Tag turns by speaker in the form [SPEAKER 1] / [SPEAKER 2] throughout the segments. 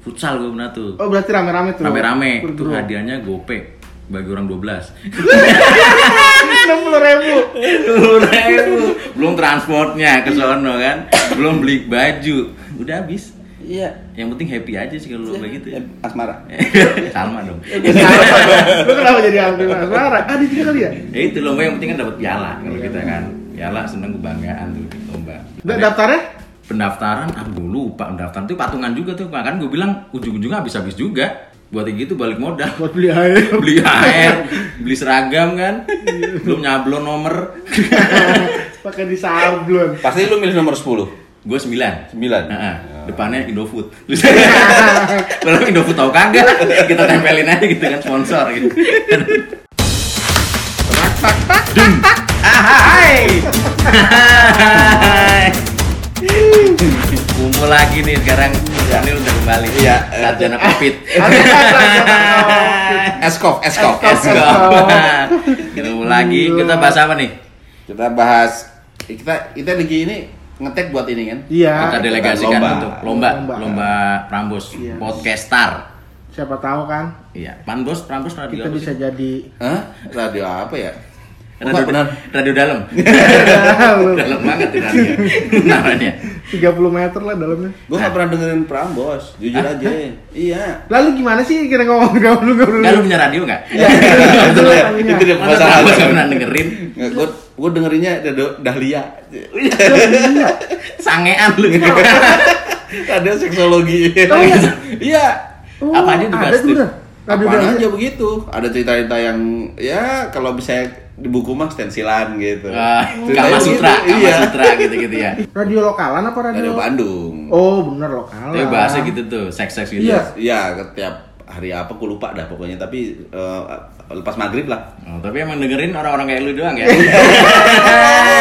[SPEAKER 1] futsal gue pernah tuh
[SPEAKER 2] Oh berarti rame-rame tuh.
[SPEAKER 1] rame-rame
[SPEAKER 2] Per
[SPEAKER 1] tuh
[SPEAKER 2] grup.
[SPEAKER 1] hadiahnya gope bagi orang 12
[SPEAKER 2] enam puluh ribu.
[SPEAKER 1] Ribu. belum transportnya ke sono kan belum beli baju udah habis
[SPEAKER 3] Iya.
[SPEAKER 1] yang penting happy aja sih kalau lo begitu
[SPEAKER 3] Eh, Asmara.
[SPEAKER 1] ya. sama dong
[SPEAKER 2] Lu kenapa jadi hampir asmara? Ah di tiga kali ya?
[SPEAKER 1] ya itu lomba yang penting kan dapat piala kalau kita kan piala seneng kebanggaan tuh di lomba
[SPEAKER 2] Da- daftarnya?
[SPEAKER 1] pendaftaran ah gue lupa pendaftaran itu patungan juga tuh kan gue bilang ujung-ujungnya habis-habis juga buat yang gitu balik modal
[SPEAKER 2] Buat beli air.
[SPEAKER 1] beli air beli seragam kan belum nyablon nomor
[SPEAKER 2] Pakai di sablon.
[SPEAKER 3] Pasti lu milih nomor 10.
[SPEAKER 1] gue sembilan
[SPEAKER 3] 9.
[SPEAKER 1] Heeh. depannya Indofood lalu Indofood tahu kagak kita tempelin aja gitu kan sponsor gitu Ahai. Ahai. Kumpul lagi nih sekarang Daniel udah kembali
[SPEAKER 3] Iya.
[SPEAKER 1] sarjana covid
[SPEAKER 3] Eskov, Eskov.
[SPEAKER 1] Eskop. Kita ketemu lagi. Kita bahas apa nih?
[SPEAKER 3] Kita bahas eh, kita kita lagi ini ngetek buat ini kan?
[SPEAKER 1] Kita
[SPEAKER 2] Iya.
[SPEAKER 1] delegasikan
[SPEAKER 3] Lomba.
[SPEAKER 1] untuk lomba,
[SPEAKER 2] Lomba.
[SPEAKER 1] lomba Prambos
[SPEAKER 2] Iya.
[SPEAKER 1] Podcastar.
[SPEAKER 2] Siapa tahu kan
[SPEAKER 1] Iya, Prambos, Prambos radio.
[SPEAKER 2] kita
[SPEAKER 1] apa
[SPEAKER 2] bisa
[SPEAKER 1] sih?
[SPEAKER 2] jadi
[SPEAKER 3] Hah? Radio apa ya?
[SPEAKER 1] Radio,
[SPEAKER 3] Bukan, benar.
[SPEAKER 1] radio dalam. dalam banget ini radio. Namanya.
[SPEAKER 2] 30 meter lah dalamnya.
[SPEAKER 3] Gue gak pernah dengerin Prambos, jujur aja. Iya.
[SPEAKER 2] Lalu gimana sih kira ngomong ngomong dulu
[SPEAKER 1] Enggak lu punya radio enggak?
[SPEAKER 3] itu dia,
[SPEAKER 2] Iya.
[SPEAKER 3] itu dia
[SPEAKER 1] Masa tahu gak pernah
[SPEAKER 3] masalahnya.
[SPEAKER 1] dengerin?
[SPEAKER 3] Gue gue dengerinnya Radio Dahlia.
[SPEAKER 1] Sangean lu.
[SPEAKER 3] Iya. Ada seksologi.
[SPEAKER 2] Oh, iya.
[SPEAKER 3] Iya.
[SPEAKER 1] Apa aja tuh,
[SPEAKER 2] Oh, ada
[SPEAKER 1] Bas,
[SPEAKER 2] tuh
[SPEAKER 1] tuh?
[SPEAKER 2] udah. Ada
[SPEAKER 3] Apaan
[SPEAKER 2] udah.
[SPEAKER 3] aja begitu. Ada cerita-cerita yang ya kalau bisa di buku mah stensilan gitu.
[SPEAKER 1] Wah, Eh,
[SPEAKER 3] Ceritanya
[SPEAKER 1] Ah, Kama Sutra,
[SPEAKER 3] begitu,
[SPEAKER 1] Kama
[SPEAKER 3] iya.
[SPEAKER 1] Sutra gitu-gitu ya.
[SPEAKER 2] Radio lokalan apa radio?
[SPEAKER 3] Radio Bandung.
[SPEAKER 2] Oh, bener lokalan.
[SPEAKER 1] Tapi bahasnya gitu tuh, seks-seks gitu.
[SPEAKER 2] Iya.
[SPEAKER 3] Iya, setiap hari apa aku lupa dah pokoknya tapi eh, lepas maghrib lah.
[SPEAKER 1] Oh, tapi emang dengerin orang-orang kayak lu doang ya.
[SPEAKER 2] Iya.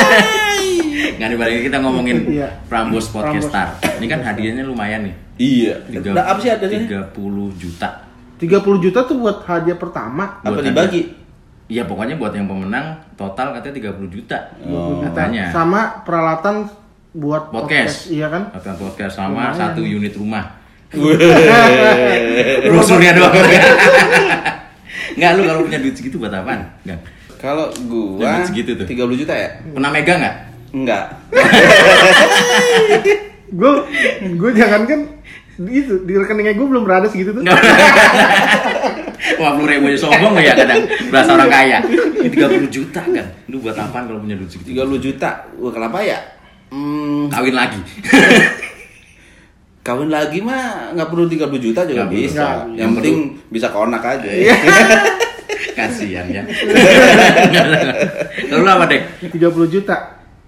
[SPEAKER 1] Nggak dibalikin kita ngomongin
[SPEAKER 2] Iya.
[SPEAKER 1] Prambos
[SPEAKER 2] Prambos.
[SPEAKER 1] Podcast Star. Ini kan hadiahnya lumayan nih.
[SPEAKER 3] Iya.
[SPEAKER 1] Tiga-
[SPEAKER 3] Nah, apa sih adanya?
[SPEAKER 1] 30 juta.
[SPEAKER 2] 30 juta tuh buat hadiah pertama.
[SPEAKER 3] Apa
[SPEAKER 1] Buat
[SPEAKER 3] dibagi?
[SPEAKER 1] Iya, pokoknya buat yang pemenang total katanya 30 juta.
[SPEAKER 3] Oh.
[SPEAKER 1] Katanya.
[SPEAKER 2] Sama peralatan buat
[SPEAKER 1] Podcast.
[SPEAKER 2] Iya kan?
[SPEAKER 1] Akan podcast sama
[SPEAKER 2] Lumayan.
[SPEAKER 1] satu unit rumah.
[SPEAKER 3] Weh.
[SPEAKER 1] Brosurnya doang. Enggak lu kalau punya duit segitu buat apaan? Enggak.
[SPEAKER 3] Kalau gua
[SPEAKER 1] Dapat segitu tuh.
[SPEAKER 3] 30 juta ya?
[SPEAKER 1] Pernah megang nggak?
[SPEAKER 3] Enggak.
[SPEAKER 2] Gue gue jangan kan itu di rekeningnya gue belum ada segitu tuh.
[SPEAKER 1] Nggak Wah, puluh ribu aja sombong lu ya kadang berasa orang kaya. Ini 30 juta kan. Lu buat apaan kalau punya duit segitu?
[SPEAKER 3] 30 juta. Wah, kenapa ya? Hmm,
[SPEAKER 1] Kawin lagi.
[SPEAKER 3] kawin lagi mah nggak perlu 30 juta juga
[SPEAKER 1] Nggak
[SPEAKER 3] bisa.
[SPEAKER 2] perlu.
[SPEAKER 3] Yang penting bisa konak aja.
[SPEAKER 1] Kasihan ya. Lalu apa, Dek?
[SPEAKER 2] 30 juta.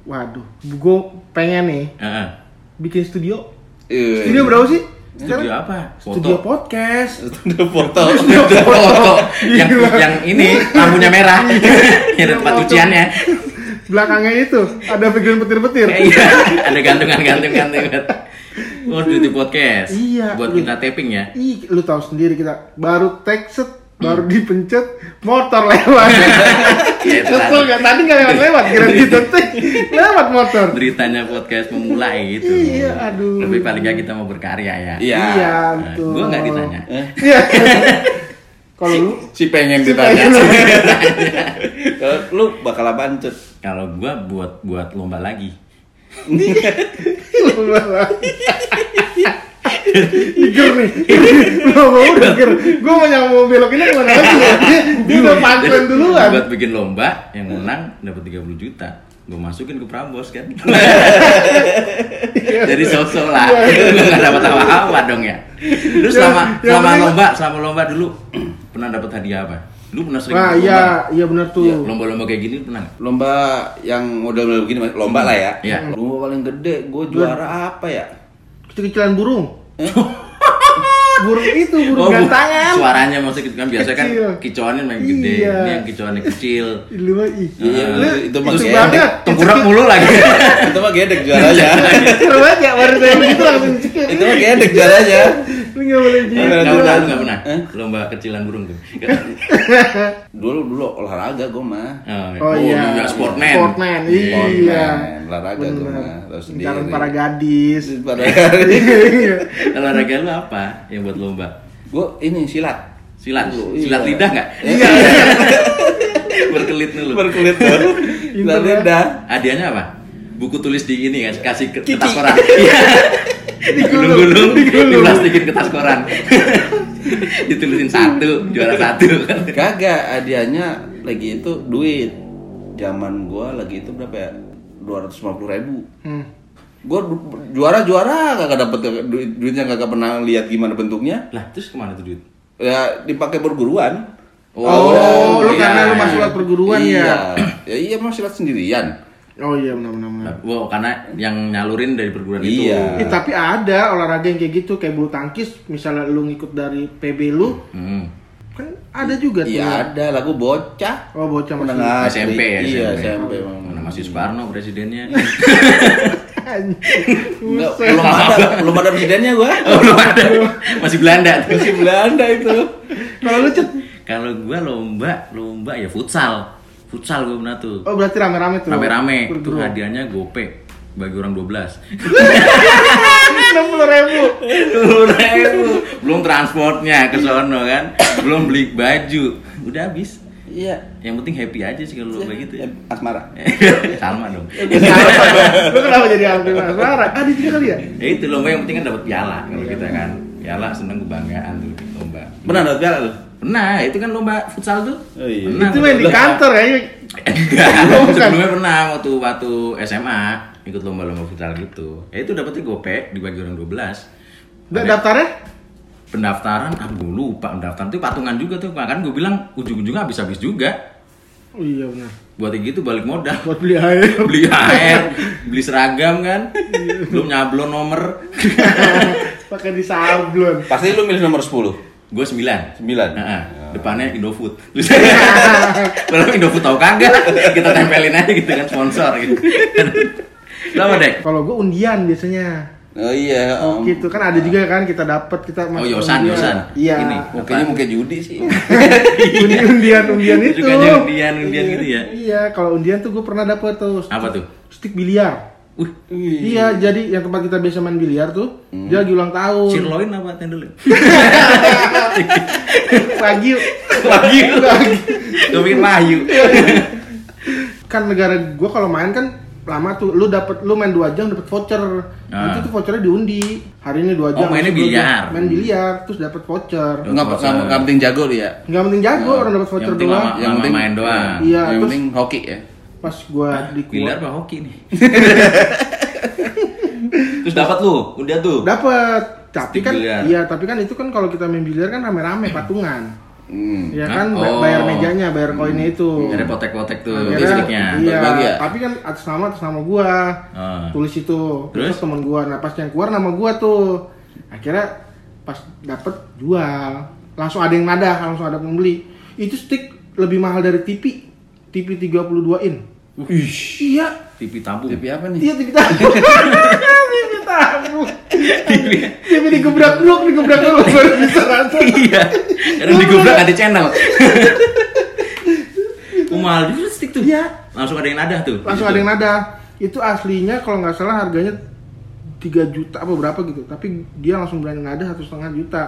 [SPEAKER 2] Waduh, gue pengen nih
[SPEAKER 1] Heeh.
[SPEAKER 2] bikin studio.
[SPEAKER 3] Iya.
[SPEAKER 2] Studio berapa sih?
[SPEAKER 1] Studio
[SPEAKER 2] Sekarang?
[SPEAKER 1] apa? Foto.
[SPEAKER 2] Studio podcast.
[SPEAKER 3] Studio foto.
[SPEAKER 1] Foto. Yang
[SPEAKER 2] Iya.
[SPEAKER 1] yang ini lampunya merah. Ini ada tempat ya.
[SPEAKER 2] Foto.
[SPEAKER 1] cuciannya.
[SPEAKER 2] Belakangnya itu ada background petir-petir.
[SPEAKER 1] Eh, Iya, ada gantungan-gantungan gantungan. Oh, duty podcast.
[SPEAKER 2] Iya.
[SPEAKER 1] Buat kita taping ya.
[SPEAKER 2] Ih, lu tahu sendiri kita baru tag set, baru dipencet, motor lewat.
[SPEAKER 1] Ya, itu
[SPEAKER 2] Kesel
[SPEAKER 1] tadi.
[SPEAKER 2] nggak tadi nggak lewat lewat, kira ditetik lewat motor.
[SPEAKER 1] Beritanya podcast memulai gitu.
[SPEAKER 2] Iya, aduh.
[SPEAKER 1] Lebih paling nggak kita mau berkarya ya.
[SPEAKER 3] Iya.
[SPEAKER 2] Iya,
[SPEAKER 1] Nah,
[SPEAKER 2] betul.
[SPEAKER 1] gua nggak ditanya.
[SPEAKER 2] Iya. Kalau lu
[SPEAKER 3] Si pengen
[SPEAKER 1] Iya,
[SPEAKER 3] ditanya. Kalau lu bakal apaan, Cut?
[SPEAKER 1] Kalau gua buat buat lomba lagi.
[SPEAKER 2] lu malah. Iger nih, lu mau udah Iger. Gue mau yang mau belok ini kemana lagi? Dia udah pantren duluan.
[SPEAKER 1] Buat bikin lomba yang menang dapat 30 juta. Gua masukin ke Prambos kan. Jadi sosok lah.
[SPEAKER 2] Iya,
[SPEAKER 1] Gua nggak dapat apa-apa dong ya. Lu
[SPEAKER 2] Yang-
[SPEAKER 1] selama
[SPEAKER 2] yang
[SPEAKER 1] selama
[SPEAKER 2] penting-
[SPEAKER 1] lomba, selama lomba dulu pernah dapat hadiah apa? Lu pernah sering
[SPEAKER 2] Nah,
[SPEAKER 1] ikut
[SPEAKER 2] iya,
[SPEAKER 1] lomba?
[SPEAKER 2] iya benar
[SPEAKER 1] Iya,
[SPEAKER 2] tuh.
[SPEAKER 1] Lomba-lomba kayak gini pernah nggak?
[SPEAKER 3] Lomba yang model-model begini, lomba lah ya.
[SPEAKER 1] Iya.
[SPEAKER 3] Lomba paling gede, gue juara apa ya?
[SPEAKER 2] Kecil-kecilan burung. Burung itu
[SPEAKER 1] Oh,
[SPEAKER 2] burung
[SPEAKER 1] bu-
[SPEAKER 2] gantangan.
[SPEAKER 1] Suaranya maksudnya gitu kan biasa kan
[SPEAKER 2] Kecil.
[SPEAKER 1] kicauannya main gede,
[SPEAKER 2] Iya.
[SPEAKER 1] ini yang kicauannya kecil. Eh,
[SPEAKER 2] Lu mah ih.
[SPEAKER 3] Iya,
[SPEAKER 2] Lu
[SPEAKER 3] itu
[SPEAKER 2] itu
[SPEAKER 3] maksudnya
[SPEAKER 2] banget. Iya,
[SPEAKER 1] Tengkurap mulu lagi.
[SPEAKER 3] Itu mah gedek juaranya.
[SPEAKER 2] Seru banget ya baru saya begitu langsung cekir.
[SPEAKER 3] Itu mah gedek juaranya.
[SPEAKER 2] Lu nggak boleh
[SPEAKER 1] Nggak
[SPEAKER 2] gitu.
[SPEAKER 3] Gimana tuh,
[SPEAKER 1] pernah,
[SPEAKER 3] Dan?
[SPEAKER 1] lu nggak pernah.
[SPEAKER 3] Eh?
[SPEAKER 1] Lomba kecilan burung tuh.
[SPEAKER 3] Dulu dulu olahraga gue mah.
[SPEAKER 2] Oh, iya.
[SPEAKER 1] sportman.
[SPEAKER 2] Sportman, iya.
[SPEAKER 3] Sportman, olahraga gue
[SPEAKER 2] Bener.
[SPEAKER 3] mah. Tahu sendiri.
[SPEAKER 2] Lingkaran para gadis.
[SPEAKER 3] Para-
[SPEAKER 2] Iya.
[SPEAKER 1] Olahraga lu apa yang buat lomba?
[SPEAKER 3] Gue ini silat.
[SPEAKER 1] Silat,
[SPEAKER 3] Dulu,
[SPEAKER 1] silat
[SPEAKER 3] iya.
[SPEAKER 1] lidah nggak?
[SPEAKER 3] Iya.
[SPEAKER 1] Berkelit dulu.
[SPEAKER 3] Berkelit tuh. Silat
[SPEAKER 2] Internet.
[SPEAKER 3] lidah.
[SPEAKER 1] Hadiahnya apa? Buku tulis di ini kan, kasih ke-
[SPEAKER 3] Kiki.
[SPEAKER 1] kertas koran. Iya. Digulung-gulung,
[SPEAKER 2] Digulung.
[SPEAKER 1] diplastikin kertas koran. Ditulisin satu, juara satu.
[SPEAKER 3] Kagak, hadiahnya lagi itu duit. Zaman gua lagi itu berapa ya? 250 ribu.
[SPEAKER 2] Hmm.
[SPEAKER 3] Gua du- juara-juara kagak dapet duit duitnya kagak pernah lihat gimana bentuknya.
[SPEAKER 1] Lah, terus kemana tuh duit?
[SPEAKER 3] Ya dipakai perguruan.
[SPEAKER 2] Oh, lu
[SPEAKER 1] iya.
[SPEAKER 2] karena lu masuk lewat perguruan
[SPEAKER 3] iya.
[SPEAKER 2] ya.
[SPEAKER 3] ya. Iya, emang silat sendirian.
[SPEAKER 2] Oh iya benar benar. benar.
[SPEAKER 1] Wow, karena yang nyalurin dari perguruan itu.
[SPEAKER 3] Hmm. Iya.
[SPEAKER 2] Eh, tapi ada olahraga yang kayak gitu kayak bulu tangkis misalnya lu ngikut dari PB lu
[SPEAKER 1] Hmm.
[SPEAKER 2] kan ada juga tuh. ya.
[SPEAKER 3] Iya ada lah, gua bocah.
[SPEAKER 2] Oh bocah masih
[SPEAKER 3] Menengah
[SPEAKER 1] SMP ya,
[SPEAKER 3] asli. Iya,
[SPEAKER 1] SMP.
[SPEAKER 3] SMP. emang.
[SPEAKER 1] Mana masih Soekarno presidennya?
[SPEAKER 3] Nggak,
[SPEAKER 2] Buset.
[SPEAKER 3] belum ada, belum ada presidennya gua.
[SPEAKER 1] Oh, belum ada. Masih Belanda tuh.
[SPEAKER 3] Masih Belanda itu.
[SPEAKER 2] Kalau lu cet
[SPEAKER 1] Kalau gua lomba, lomba ya futsal. Futsal gua pernah tuh.
[SPEAKER 2] Oh berarti rame-rame tuh.
[SPEAKER 1] Rame-rame. kan. Itu
[SPEAKER 2] Perguruan.
[SPEAKER 1] hadiahnya gope bagi orang 12.
[SPEAKER 2] 60 ribu.
[SPEAKER 1] Belum transportnya ke sono kan. Belum beli baju. Udah habis.
[SPEAKER 3] Iya.
[SPEAKER 1] Yang penting happy aja sih kalau lomba gitu ya.
[SPEAKER 3] Asmara.
[SPEAKER 1] Salma dong.
[SPEAKER 2] Lu kenapa jadi Alvin Asmara? Ah, di tiga kali ya?
[SPEAKER 1] Ya itu lomba yang penting kan dapat piala kalau kita
[SPEAKER 2] Iya.
[SPEAKER 1] kan. Piala seneng kebanggaan tuh lomba.
[SPEAKER 3] Benar dapat piala lu?
[SPEAKER 1] Pernah, itu kan lomba futsal tuh.
[SPEAKER 3] Oh, iya.
[SPEAKER 1] Pernah.
[SPEAKER 2] Itu main di kantor ya.
[SPEAKER 1] Enggak,
[SPEAKER 2] Bukan.
[SPEAKER 1] sebelumnya pernah waktu waktu SMA ikut lomba-lomba futsal gitu. Ya itu dapetnya gope dibagi orang 12. Ada
[SPEAKER 2] Da- Daftarnya?
[SPEAKER 1] pendaftaran, ah gue lupa pendaftaran itu patungan juga tuh. Kan gue bilang ujung-ujungnya habis-habis juga.
[SPEAKER 2] Oh iya benar.
[SPEAKER 1] Buat yang gitu balik modal.
[SPEAKER 2] Buat beli air.
[SPEAKER 1] Beli air, beli seragam kan. Belum nyablon nomor.
[SPEAKER 2] Pakai di sablon.
[SPEAKER 3] Pasti lu milih nomor 10.
[SPEAKER 1] Gue 9.
[SPEAKER 3] 9.
[SPEAKER 1] Heeh. Depannya Indofood. Tulisannya. Padahal Indofood tahu kagak. Kita tempelin aja gitu kan sponsor gitu. Lama deh.
[SPEAKER 2] Kalau gua undian biasanya.
[SPEAKER 3] Oh iya.
[SPEAKER 2] Oh,
[SPEAKER 3] om.
[SPEAKER 2] gitu kan ada juga kan kita dapat kita
[SPEAKER 1] Oh,
[SPEAKER 2] masuk
[SPEAKER 1] Yosan,
[SPEAKER 2] undian.
[SPEAKER 1] Yosan.
[SPEAKER 2] Iya.
[SPEAKER 1] Ini.
[SPEAKER 3] Mukanya muka judi sih.
[SPEAKER 2] Undi- undian undian itu.
[SPEAKER 1] Sukanya undian, undian gitu ya.
[SPEAKER 2] Iya, kalau undian tuh gua pernah dapat tuh.
[SPEAKER 1] Apa tuh?
[SPEAKER 2] Stick biliar.
[SPEAKER 1] Uh,
[SPEAKER 2] Iya, jadi yang tempat kita biasa main biliar tuh,
[SPEAKER 1] Hmm.
[SPEAKER 2] dia lagi ulang tahun.
[SPEAKER 1] sirloin apa tenderloin?
[SPEAKER 2] Lagi
[SPEAKER 1] Wagyu. Gue pikir wahyu.
[SPEAKER 2] kan negara gua kalau main kan lama tuh lu dapat lu main dua jam dapat voucher
[SPEAKER 1] Ah. Oh,
[SPEAKER 2] nanti tuh vouchernya diundi hari ini dua jam
[SPEAKER 1] mainnya
[SPEAKER 2] besok dua jam.
[SPEAKER 1] biliar. Hmm. Oh,
[SPEAKER 2] main biliar terus dapat voucher
[SPEAKER 3] Enggak enggak enggak penting jago dia.
[SPEAKER 2] nggak penting jago orang dapat
[SPEAKER 1] Iya. Yang
[SPEAKER 2] voucher
[SPEAKER 1] penting
[SPEAKER 2] doang
[SPEAKER 1] lama,
[SPEAKER 3] Yang
[SPEAKER 1] lama
[SPEAKER 3] penting-
[SPEAKER 1] main doang.
[SPEAKER 2] Iya,
[SPEAKER 3] yang
[SPEAKER 2] terus-
[SPEAKER 3] penting hoki ya.
[SPEAKER 2] pas gua Kan di
[SPEAKER 1] Biliar apa hoki nih? Terus dapat lu, udah tuh.
[SPEAKER 2] dapat
[SPEAKER 1] Stick
[SPEAKER 2] tapi kan
[SPEAKER 1] biliar.
[SPEAKER 2] iya tapi kan itu kan kalau kita main biliar kan rame-rame patungan
[SPEAKER 3] Hmm.
[SPEAKER 2] ya
[SPEAKER 1] Hah?
[SPEAKER 2] kan ba-
[SPEAKER 1] Oh. Iya,
[SPEAKER 2] bayar mejanya bayar koinnya itu
[SPEAKER 1] Akhirnya potek-potek tuh
[SPEAKER 2] Akhirnya,
[SPEAKER 1] listriknya.
[SPEAKER 2] iya
[SPEAKER 3] Bagi-bagi ya?
[SPEAKER 2] tapi kan atas nama atas nama gua
[SPEAKER 1] Ah.
[SPEAKER 2] tulis itu
[SPEAKER 1] Terus?
[SPEAKER 2] terus, temen gua nah pas yang keluar nama gua tuh akhirnya pas dapet jual langsung ada yang nada langsung ada pembeli itu stick lebih mahal dari TV TV 32 in
[SPEAKER 1] Wih,
[SPEAKER 2] iya
[SPEAKER 1] TV tabung.
[SPEAKER 3] Tapi apa nih?
[SPEAKER 2] iya TV tabung TV tabung TV digebrak dulu digebrak dulu baru bisa rasa
[SPEAKER 1] Iya. Karena digubrak ada channel. Umal di stick tuh.
[SPEAKER 2] Iya.
[SPEAKER 1] Langsung ada yang nadah tuh. Gitu.
[SPEAKER 2] langsung ada yang nada itu aslinya kalau nggak salah harganya 3 juta apa berapa gitu tapi dia langsung berani nada satu setengah juta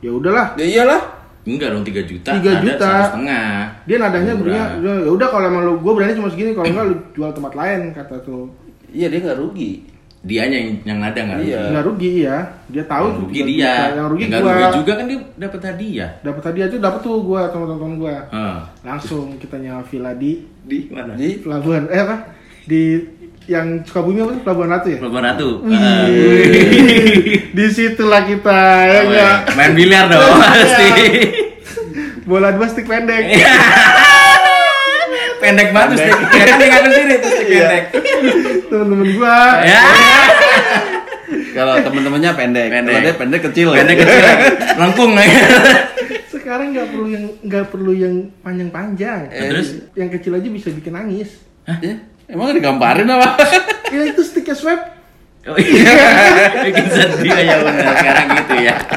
[SPEAKER 2] ya udahlah
[SPEAKER 3] Ya iyalah.
[SPEAKER 1] Enggak dong 3 juta.
[SPEAKER 2] 3
[SPEAKER 1] nada
[SPEAKER 2] juta.
[SPEAKER 1] satu setengah.
[SPEAKER 2] dia nadanya
[SPEAKER 1] Murah.
[SPEAKER 2] bunyinya ya udah kalau emang lu gue berani cuma segini kalau enggak lu jual tempat lain kata tuh
[SPEAKER 3] Iya dia enggak rugi.
[SPEAKER 1] Dianya yang yang nada enggak?
[SPEAKER 3] Iya.
[SPEAKER 2] nggak rugi ya dia tahu
[SPEAKER 1] Yang
[SPEAKER 2] tuh
[SPEAKER 1] rugi
[SPEAKER 2] juga
[SPEAKER 1] dia.
[SPEAKER 2] kita. yang rugi
[SPEAKER 1] Nggak
[SPEAKER 2] gua
[SPEAKER 1] rugi juga kan dia dapat hadiah.
[SPEAKER 2] dapat hadiah tuh dapat tuh gua sama teman-teman gua
[SPEAKER 1] Heeh.
[SPEAKER 2] langsung kita nyawa villa di
[SPEAKER 1] Di mana?
[SPEAKER 3] Jadi
[SPEAKER 2] pelabuhan eh apa di yang Sukabumi apa sih? pelabuhan ratu ya
[SPEAKER 1] Pelabuhan Ratu. Ah.
[SPEAKER 2] di situlah kita ya
[SPEAKER 1] Heeh.
[SPEAKER 2] nggak?
[SPEAKER 1] Main biliar dong pasti.
[SPEAKER 2] bola dua stick pendek
[SPEAKER 1] Eh. pendek banget tuh stick. Ya kan dia ngaku sendiri tuh stick pendek.
[SPEAKER 2] teman-teman gua
[SPEAKER 1] Ya.
[SPEAKER 3] kalau teman-temannya pendek,
[SPEAKER 1] Pendek.
[SPEAKER 3] kalau dia pendek kecil. ya.
[SPEAKER 1] Pendek kecil. Lengkung ya.
[SPEAKER 2] sekarang nggak perlu yang nggak perlu yang panjang-panjang
[SPEAKER 1] Nah, terus?
[SPEAKER 2] yang kecil aja bisa bikin nangis
[SPEAKER 3] Ya, Emang digambarin apa?
[SPEAKER 2] ya itu sticknya swab
[SPEAKER 1] iya. Oh iya, bikin sedih aja bener sekarang gitu ya.